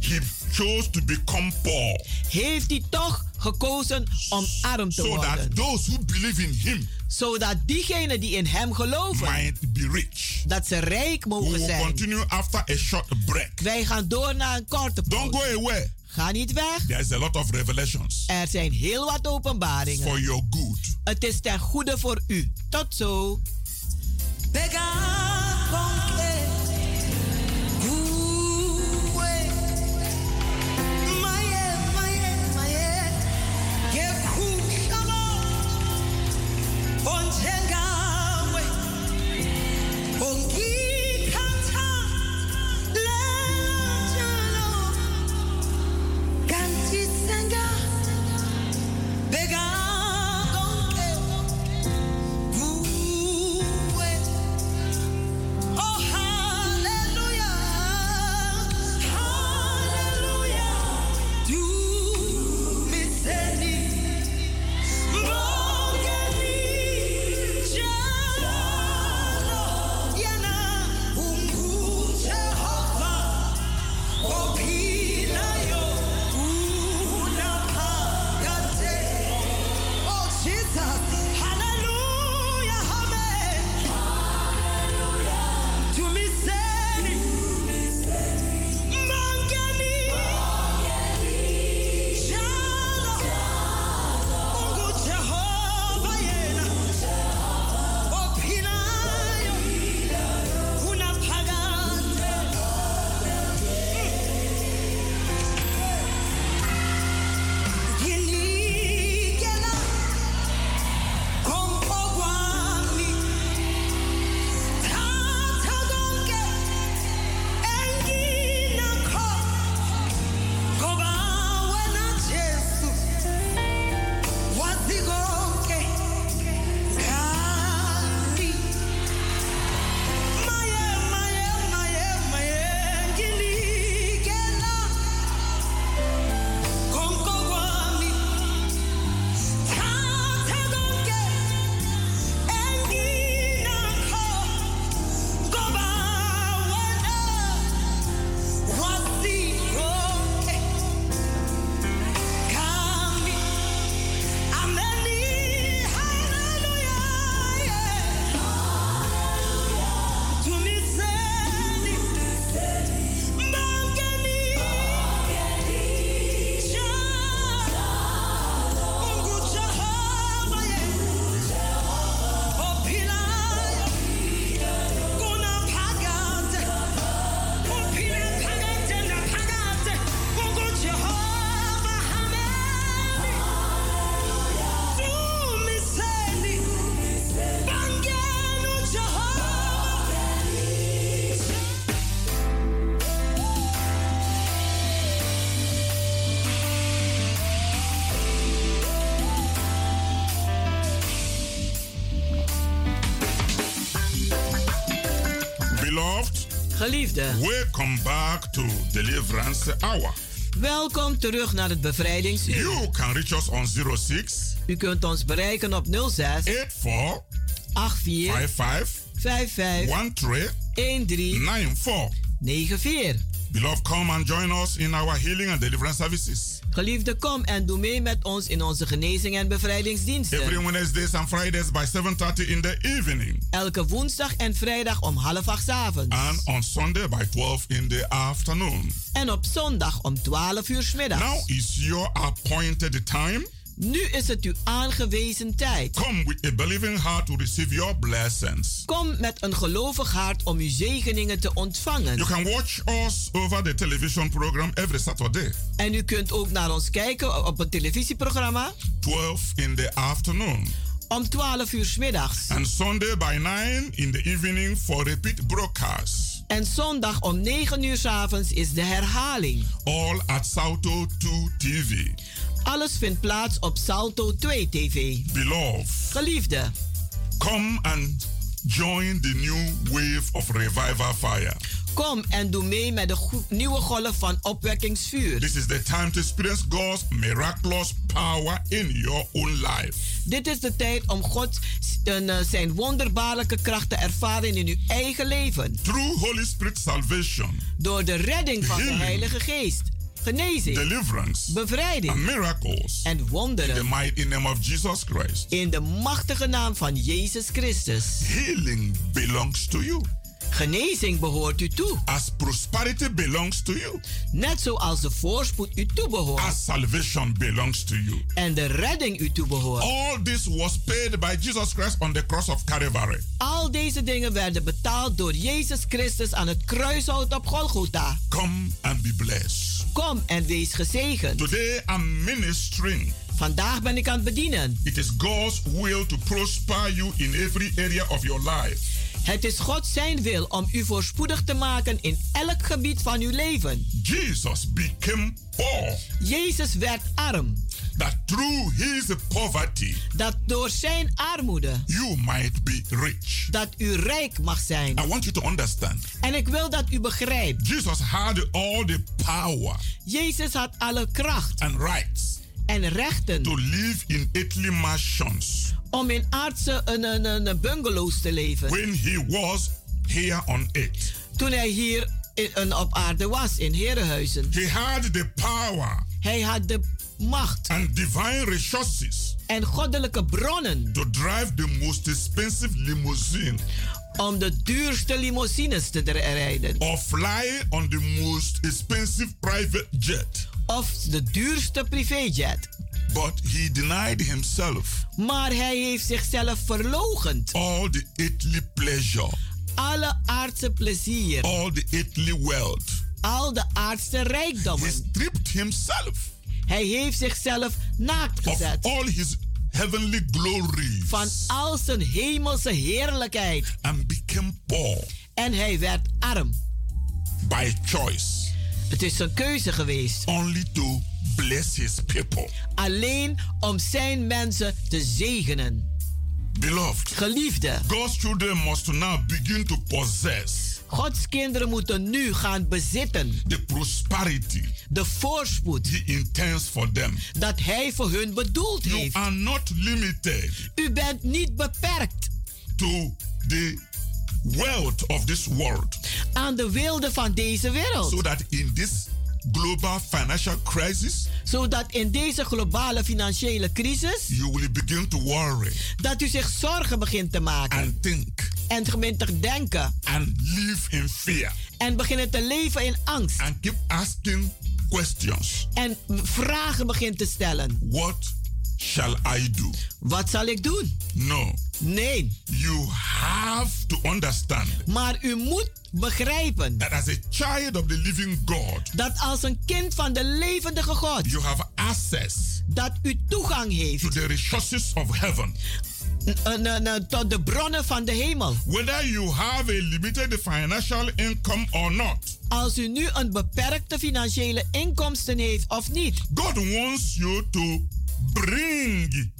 he chose to become poor
heeft hij toch gekozen om arm te
so
worden.
that those who believe in him
zodat diegenen die in hem geloven,
might be rich.
dat ze rijk
We
mogen
will
zijn.
continue after a short break.
Wij gaan door naar een korte
Don't
pauze.
go away.
Ga niet weg.
There is a lot of revelations
Er zijn heel wat openbaringen.
for your good.
Het is ten goede voor u. Tot zo. Oh,
Beloved,
Geliefde,
welcome back to Deliverance Hour.
welkom terug naar het bevrijdingsuur.
You can reach us on 06
U kunt ons bereiken op 06
84
84
55
55 13
13 94.
94.
Beloved, come and join us in our healing and deliverance services
Geliefde, kom en doe mee met ons in onze genezing en
every
bevrijdingsdiensten.
Wednesdays and Fridays by 7:30 in the evening
Elke woensdag en vrijdag om half acht 's avonds.
and on Sunday by 12 in the afternoon.
En op zondag om 12 uur 's
Now
middags.
is your appointed time.
Nu is het uw aangewezen tijd.
Come with a believing heart to receive your blessings.
Kom met een gelovig hart om uw zegeningen te
You
ontvangen.
can watch us over the television program every Saturday,
En u kunt ook naar ons kijken op het televisieprogramma
12 in the afternoon,
om 12 uur 's middags.
and Sunday by 9 in the evening for repeat broadcasts.
En zondag om 9 uur 's avonds is de herhaling.
All at Salto 2 TV.
Alles vindt plaats op Salto 2 TV.
Beloved,
Geliefde,
come and join the new wave of revival fire.
kom en doe mee met de go- nieuwe golf van opwekkingsvuur.
This is the time to experience God's miraculous power in your own life.
Dit is de tijd om God en, eh, zijn wonderbaarlijke kracht te ervaren in uw eigen leven.
Through Holy Spirit salvation,
Door de redding van de
Healing.
Heilige Geest. genezing,
deliverance,
bevrijding
and miracles
en
in the
wonderen
mighty name of Jesus Christ.
in de machtige naam van Jezus Christus.
Healing belongs to you.
Genezing behoort u toe,
As prosperity belongs to you.
net zoals de voorspoed u toebehoort
As salvation belongs to you.
en de redding u toebehoort.
All this was paid by Jesus Christ on the cross of Calvary.
Al deze dingen werden betaald door Jezus Christus aan het kruishout op Golgotha.
Come and be blessed.
Kom en wees gezegend.
Today I'm ministering.
Vandaag ben ik aan het bedienen.
It is God's will to prosper you in every area of your life.
Het is God zijn wil om u voorspoedig te maken in elk gebied van uw leven.
Jesus became poor
Jezus werd arm,
that through his poverty
dat door zijn armoede
you might be rich.
dat u rijk mag zijn.
I want you to understand.
En ik wil dat u begrijpt,
Jesus had all the power
Jezus had alle kracht
and rights
en
to
rechten
live in earthly mansions
om in aardse een, een, een- een bungalows te leven.
when he was here on earth.
Toen hij hier in, een, op aarde was, in Herenhuizen.
He had the power
Hij had de macht
and divine resources
en goddelijke bronnen
to drive the most expensive limousine
om de duurste limousines te dra- rijden.
or fly on the most expensive private jet.
Of de duurste privéjet.
But he denied himself
Maar hij heeft zichzelf verlogend.
all the earthly pleasure,
Alle aardse plezier,
all the earthly wealth.
al de aardse
He
rijkdommen.
stripped himself
Hij heeft zichzelf naakt
of
gezet.
all his heavenly glories
Van al zijn hemelse heerlijkheid.
and became poor
En hij werd arm.
by choice,
Het is zijn keuze geweest.
only to bless his people.
Alleen om zijn mensen te zegenen.
Beloved,
Geliefde,
God's children must now begin to possess
Gods kinderen moeten nu gaan bezitten.
the prosperity
De voorspoed
he intends for them.
dat hij voor hun bedoeld
You
heeft.
are not limited
U bent niet beperkt
to the wealth of this world
aan de wilde van deze wereld.
so that in this global financial crisis
zodat in deze globale financiële crisis
you will begin to worry
dat u zich zorgen begint te maken
and think
en begint te denken
and live in fear
en beginnen te leven in angst
and keep asking questions
en vragen begint te stellen.
what shall i do
Wat zal ik doen?
no
Nee,
you have to understand
maar u moet begrijpen
that as a child of the living god
dat als een kind van de levendige God
you have access
dat u toegang heeft
to the resources of heaven
eh, eh, eh, tot de bronnen van de hemel.
whether you have a limited financial income or not
Als u nu een beperkte financiële inkomsten heeft of niet,
God wants you to bring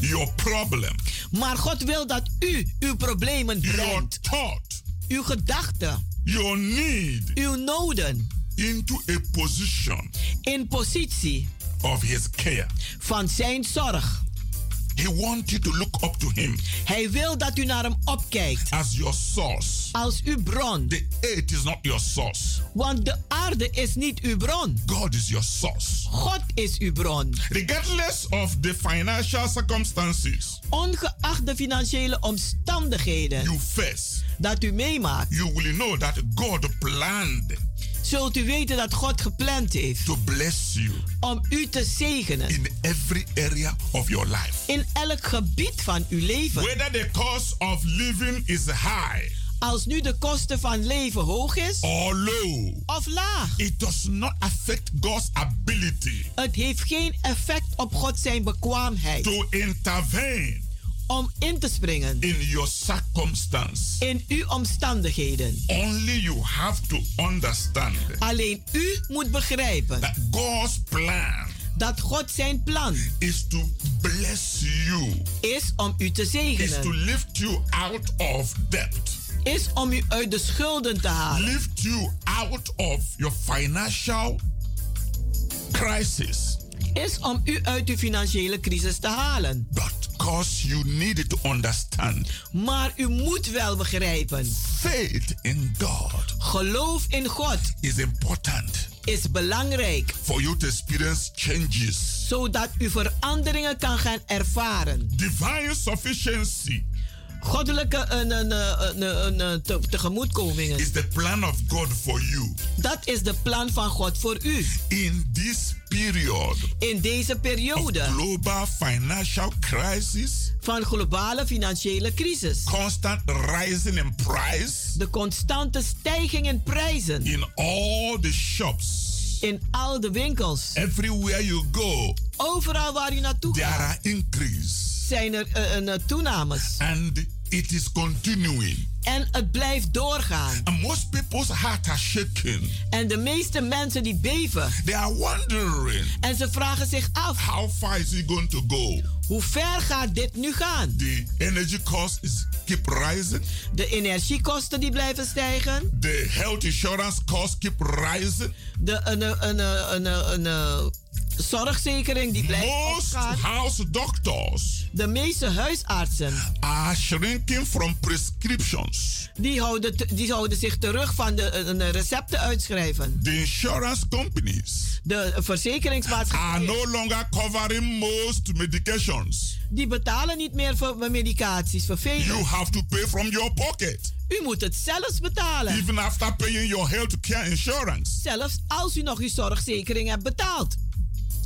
your problem,
maar God wil dat u uw problemen
your
brengt,
thought,
uw gedachten,
your need
uw noden
into a position
in positie
of His care.
van zijn zorg.
He wants you to look up to Him
Hij wil dat u naar hem opkijkt
as your source.
als uw bron.
The earth is not your source,
Want de aarde is niet uw bron.
God is your source.
God is uw bron.
Regardless of the financial circumstances
Ongeacht de financiële omstandigheden
you face,
dat u meemaakt,
you will know that God planned
zult u weten dat God gepland heeft
to bless you
om u te zegenen
in every area of your life.
in elk gebied van uw leven.
Whether the cost of living is high
Als nu de kosten van leven hoog is
or low,
of laag.
it does not affect God's ability
Het heeft geen effect op God zijn bekwaamheid
to intervene
om in te springen.
in your circumstance.
in uw omstandigheden.
Only you have to understand
Alleen u moet begrijpen
that God's plan
dat God zijn plan
is to bless you,
is om u te
is to
zegenen.
lift you out of debt,
Is om u uit de schulden te halen.
lift you out of your financial crisis.
Is om u uit uw financiële crisis te halen.
But cause you need to understand
Maar u moet wel begrijpen.
faith in God
Geloof in God
is important
is belangrijk.
for you to experience changes.
Zodat u veranderingen kan gaan ervaren.
Divine sufficiency
Goddelijke eh, een, een, een, een, een, te- tegemoetkomingen.
is the plan of God for you
Dat is de plan van God voor u.
in this period
In deze
of
periode
global financial crisis,
van globale financiële crisis.
constant rising in price
De constante stijging in prijzen
in all the shops.
in al de winkels.
Everywhere you go,
Overal waar u naartoe
there
gaat
are increase
zijn er eh, eh, toenames.
and it is continuing.
En het blijft doorgaan.
And most people's heart are shaking.
En de meeste mensen die beven.
They are wondering
En ze vragen zich af,
how far is it going to go?
hoe ver gaat dit nu gaan?
The energy cost is keep rising.
De energiekosten die blijven stijgen.
The health insurance costs keep rising.
De een, eh, een, een, een, een, een zorgzekering die blijft
Most
opgaan.
house doctors
De meeste huisartsen
are shrinking from prescriptions.
die houden, te- die houden zich terug van de eh, eh, recepten uitschrijven.
The insurance companies
De
are
verzekeringsmaatschappijen
Ah, no longer covering most medications.
die betalen niet meer voor medicaties,
You
vervelend.
have to pay from your pocket,
U moet het zelfs betalen.
even after paying your health care insurance.
Zelfs als u nog uw zorgzekering hebt betaald.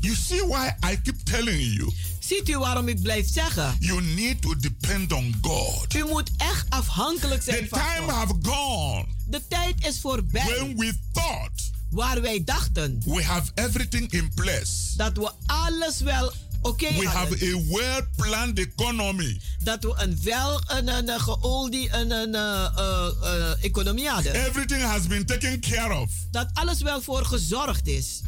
You see why I keep telling you.
Ziet u waarom ik blijf zeggen?
You need to depend on God.
U moet echt afhankelijk
The
zijn van
time
God.
have gone
De tijd is voorbij
when we thought
waar wij dachten
we have everything in place.
dat we alles wel oké
We have
hadden.
a well-planned economy.
Dat we een wel een, een, een geoldie een, een, eh, eh, eh, economie hadden.
Everything has been taken care of.
Dat alles wel voor gezorgd is.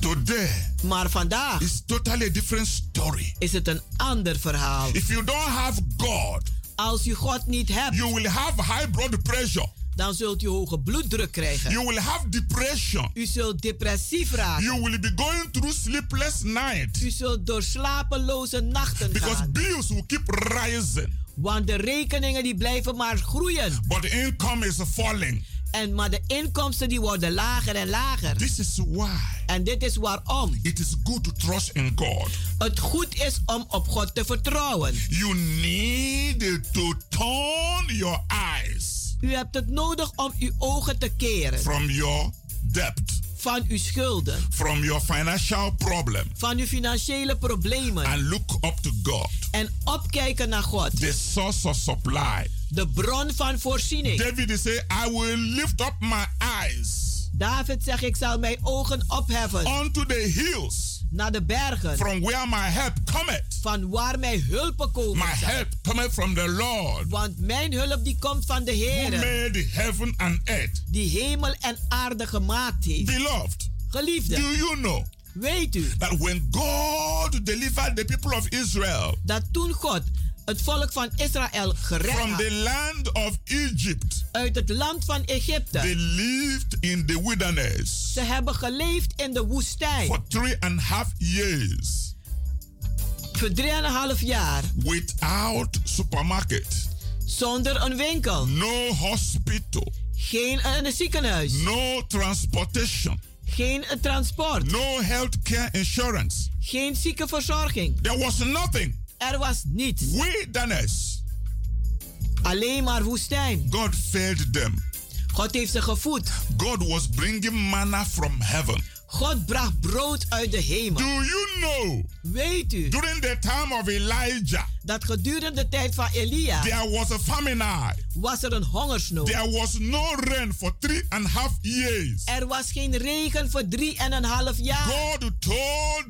Today
Maar vandaag
is totally a different story.
is het een ander verhaal.
If you don't have God,
Als u God niet hebt,
you will have high blood pressure.
dan zult u hoge bloeddruk krijgen.
You will have depression.
U zult depressief raken.
You will be going through sleepless nights
U zult door slapeloze nachten
because
gaan.
bills will keep rising,
Want de rekeningen die blijven maar groeien.
but the income is falling.
En maar de inkomsten die worden lager en lager.
This is why
En dit is waarom
It is good to trust in God.
het goed is om op God te vertrouwen.
You need to turn your eyes
U hebt het nodig om uw ogen te keren
from your debt,
van uw schulden,
from your financial problem,
van uw financiële problemen
and look up to God,
en opkijken naar God,
the source of supply.
de bron van voorziening.
David said, I will lift up my eyes
David zegt, ik zal mijn ogen opheffen
unto the hills
naar de bergen,
from where my help cometh.
van waar mijn hulpen
My
komen. zal.
help cometh from the Lord
Want mijn hulp die komt van de
who
Heer,
made heaven and earth.
die hemel en aarde gemaakt heeft.
Beloved, do
Geliefde,
you know
weet u
that when God delivered the people of Israel
dat toen God het volk van Israël gered
from the
had
land of Egypt.
uit het land van
They
Egypte.
lived in the wilderness
Ze hebben geleefd in de
for
woestijn
three and a half years
voor 3,5 jaar
without supermarket,
zonder een winkel,
no hospital,
geen een ziekenhuis,
no transportation,
geen een transport,
no health care insurance.
geen ziekenverzorging.
There was nothing.
Er was niets,
Wilderness.
alleen maar woestijn.
God fed them.
God heeft ze gevoed.
God was bringing manna from heaven.
God bracht brood uit de
Do
hemel.
you know
Weet u
during the time of Elijah,
dat gedurende de tijd van Elia
there was a famine eye?
was er een hongersnood.
There was no rain for three and a half years.
Er was geen regen voor 3,5 jaar.
God told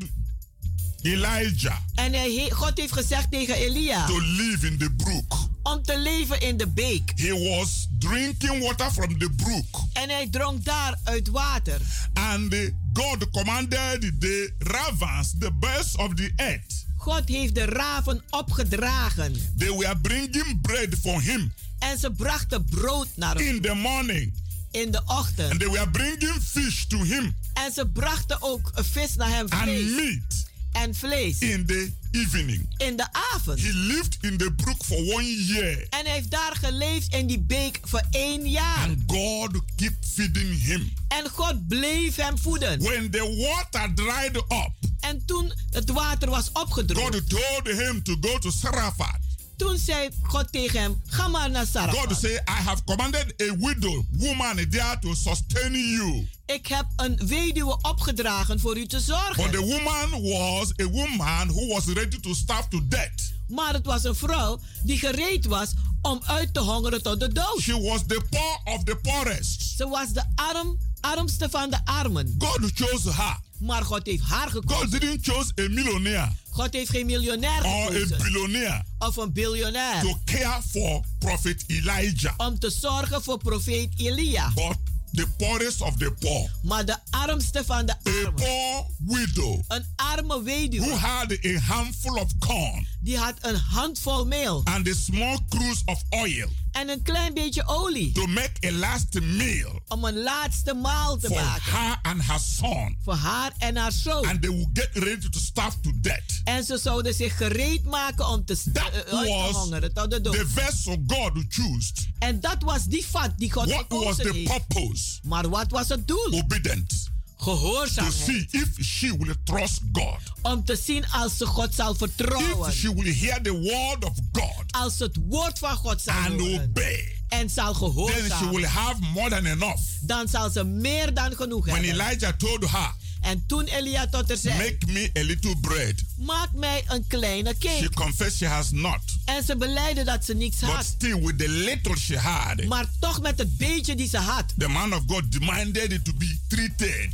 Elijah
En hij he- God heeft gezegd tegen Elia
to live in the brook.
om te leven in de beek.
He was drinking water from the brook,
En hij dronk daar uit water.
and God commanded the ravens, the birds of the earth.
God heeft de raven opgedragen.
They were bringing bread for him
En ze brachten brood naar hem
in the morning,
in de
and
ochtend.
they were bringing fish to him
En ze brachten ook een vis naar hem
and
vlees
meat.
en vlees.
in the evening.
In de avond.
He lived in the brook for one year.
En hij heeft daar geleefd in die beek voor één jaar.
And God keep feeding him.
En God bleef hem voeden.
When the water dried up,
En toen het water was
God
opgedroogd,
told him to go to Sarafat.
toen zei God tegen hem, ga maar naar
God
Sarah.
say, I have commanded a widow woman there to sustain you.
Ik heb een weduwe opgedragen voor u te
But the
zorgen.
woman was a woman who was ready to starve to death.
Maar het was een vrouw die gereed was om uit te hongeren tot de dood.
She was the poor of the poorest.
Ze was de arm, armste van de armen.
God chose her.
Maar God heeft haar gekozen.
God didn't choose a millionaire
God heeft geen miljonair
or a
gekozen.
billionaire
Of een biljonair.
to care for prophet Elijah.
Om te zorgen voor profeet Elia.
But the poorest of the poor,
Maar de armste van de
a
armen.
poor widow
Een arme
who
weduwe.
had a handful of corn
Die had een handvol meel.
and a small cruse of oil
En een klein beetje olie.
to make a last meal
Om een laatste maal te
for
maken.
her and her son.
Voor haar en haar zoon.
And they will get ready to starve to death.
En ze zouden zich gereed maken om te, sta-
That
eh, uit te
was
hongeren tot de dood.
The vessel God chose.
En dat was die vat die God
What was
gekozen
the
heeft.
purpose?
Maar wat was het doel?
Obedient. To
Gehoorzaamheid.
see if she will trust God.
Om te zien als ze God zal vertrouwen.
If she will hear the word of God
Als ze het woord van God zal
and
horen.
obey.
En zal
Then she
gehoorzamen.
will have more than enough.
Dan zal ze meer dan genoeg
When
hebben.
Elijah told her,
En toen Elia tot haar zei.
Make me a little bread,
Maak mij een kleine
she
cake.
confessed she has not.
En ze beleidde dat ze niks
But
had.
still, with the little she had,
Maar toch met het beetje die ze had,
the man of God demanded it to be treated.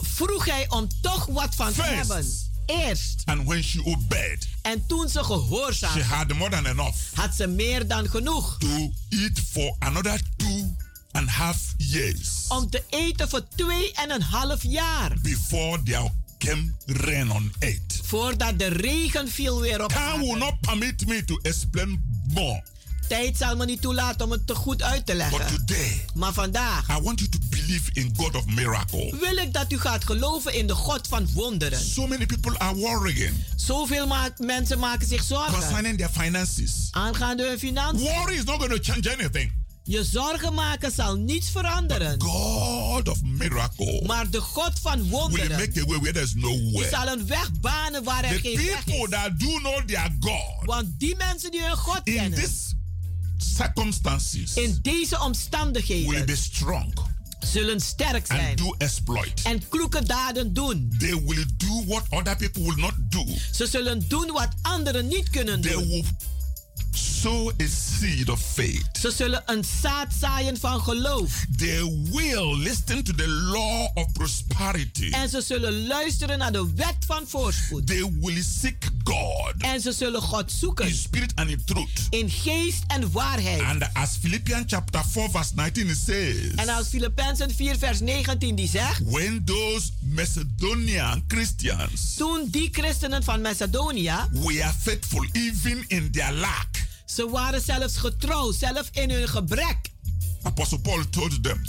vroeg hij om toch wat van te
First.
hebben. Eerst.
And when she obeyed,
En toen ze
she
gehoorzaamde,
had more than enough
had ze meer dan genoeg.
to eat for another two and a half years
Om te eten voor twee en een half jaar.
before there came rain on it.
Voordat de regen viel weer op
Time will
aarde.
not permit me to explain more,
Tijd zal me niet toelaten om het te goed uit te
but
leggen.
today
Maar vandaag
I want you to believe in God of miracle.
wil ik dat u gaat geloven in de God van wonderen.
So many people are worrying
Zoveel ma- mensen maken zich zorgen.
concerning their finances.
Aangaande hun financiën.
Worry is not going to change anything.
Je zorgen maken zal niets veranderen.
God of miracle
Maar de God van
will
wonderen
make a way where there's no
die
way.
zal een weg banen waar er
The
geen weg
people
is.
that do know their God
Want die mensen die hun God
in
kennen,
these circumstances
in deze
will be
omstandigheden,
strong
zullen sterk
and
zijn
do exploit.
en kloeke daden doen.
They will do what other people will not do.
Ze zullen doen wat anderen niet kunnen
They
doen.
will sow a seed of faith.
Ze zullen een zaad zaaien van geloof.
They will listen to the law of prosperity.
En ze zullen luisteren naar de wet van voorspoed.
They will seek God
En ze zullen God
in
zoeken
spirit and in truth.
in geest en waarheid.
And as Philippians chapter 4 verse 19 it says,
En als Filippenzen 4 vers 19 die zegt...
when those Macedonian Christians
Toen die christenen van Macedonië,
were faithful even in their lack,
ze waren zelfs getrouw, zelf in hun gebrek.
Apostle Paul told them,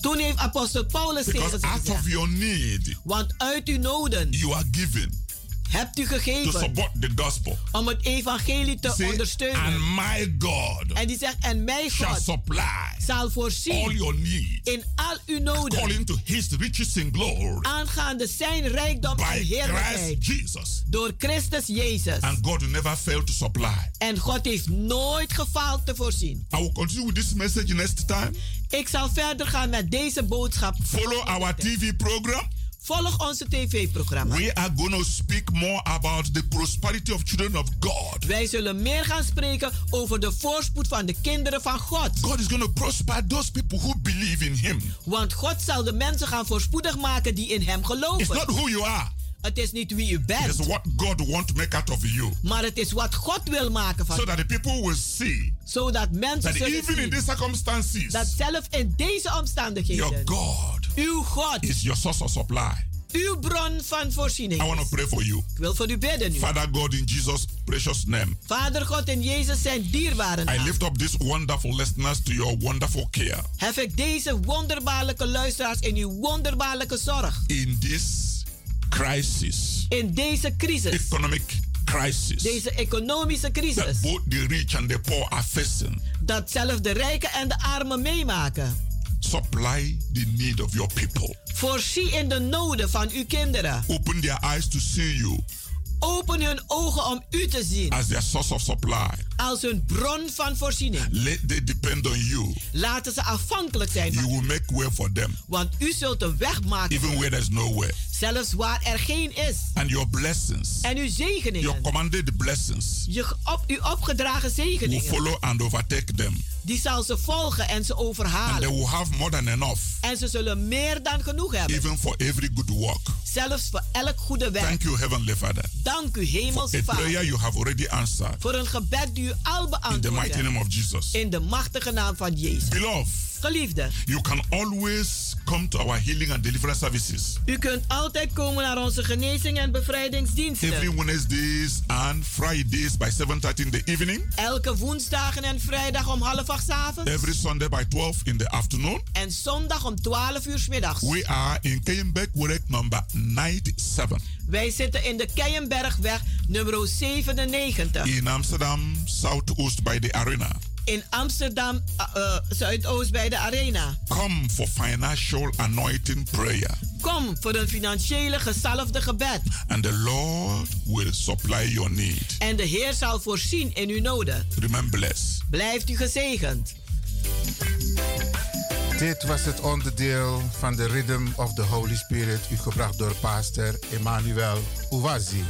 Toen heeft apostel Paulus tegen
because
ze
out
gezegd,
of your need
want uit uw noden
you are given
hebt u
to
gegeven
support the gospel.
om het evangelie te
Say, and
ondersteunen.
my God
En die zegt, en mijn
shall
God
supply
zal
all
voorzien
your needs
in al uw noden,
according to his riches in glory
aangaande zijn rijkdom en
by Christ
heerlijkheid,
Jesus.
door Christus Jezus.
And God will never fail to supply.
En God heeft nooit gefaald te voorzien.
I will continue with this message next time.
Ik zal verder gaan met deze boodschap.
Follow our TV program.
Volg onze tv-programma.
We are going to speak more about the prosperity of children of God.
Wij zullen meer gaan spreken over de voorspoed van de kinderen van God.
God is going to prosper those people who believe in Him.
Want God zal de mensen gaan voorspoedig maken die in Hem
It's
geloven.
not who you are,
Het is niet wie u
it's
bent,
what God wants to make out of you.
maar het is wat God wil maken van
So
u.
that the people will see
Zodat mensen
that
zullen
even in
zien
these circumstances,
dat zelf in deze
your
omstandigheden
God
uw God,
is your source of supply.
uw bron van
I
voorziening
want to
is.
pray for you.
Ik wil voor u bidden nu.
Father God, in Jesus' precious name,
Vader God en Jezus zijn dierbaren.
I
naam.
lift up these wonderful listeners to your wonderful care.
Hef ik deze wonderbaarlijke luisteraars in uw wonderbaarlijke zorg.
in this crisis,
in deze crisis,
economic crisis,
deze economische
that
crisis,
both the rich and the poor are facing,
dat zelfs de rijken en de armen meemaken.
supply the need of your people.
Voorzie in de noden van uw kinderen.
Open their eyes to see you
Open hun ogen om u te zien
as their source of supply.
als hun bron van voorziening.
Let they depend on you.
Laten ze afhankelijk zijn van
You will make way for them,
Want u zult een weg maken,
even where there's no way.
zelfs waar er geen is.
And your blessings,
En uw
your
zegeningen,
commanded blessings,
je ge- op, uw opgedragen
will
zegeningen,
follow and overtake them.
die zal ze volgen en ze
And they
overhalen.
will have more than enough,
En ze zullen meer dan genoeg hebben,
even for every good work.
zelfs voor elk goede werk.
Thank you, Heavenly Father.
Dank u,
For
Hemelse
a prayer
Vader,
you have already answered
voor een gebed die u al
in the
beantwoordt.
mighty name of Jesus.
In de machtige naam van Jezus.
Beloved,
Geliefde,
you can always come to our healing and deliverance services
u kunt altijd komen naar onze genezing- en
every
bevrijdingsdiensten.
Wednesdays and Fridays by 7:30 in the evening,
Elke woensdagen en vrijdag om half acht 's avonds.
every Sunday by 12 in the afternoon.
En zondag om 12 uur 's middags.
We are in Kenbeck Werek number 97
Wij zitten in de Keienbergweg nummer 97
in Amsterdam Southoost by the arena.
in Amsterdam eh, eh, Zuidoost bij de Arena.
Come for financial anointing prayer
Kom voor een financiële gezalfde gebed
and the Lord will supply your need.
en de Heer zal voorzien in uw noden.
Remain blessed.
Blijft u gezegend.
Dit was het onderdeel van de Rhythm of the Holy Spirit, u gebracht door pastor Emmanuel Ouazi.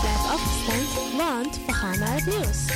Blijf afgestemd, want we gaan naar het nieuws.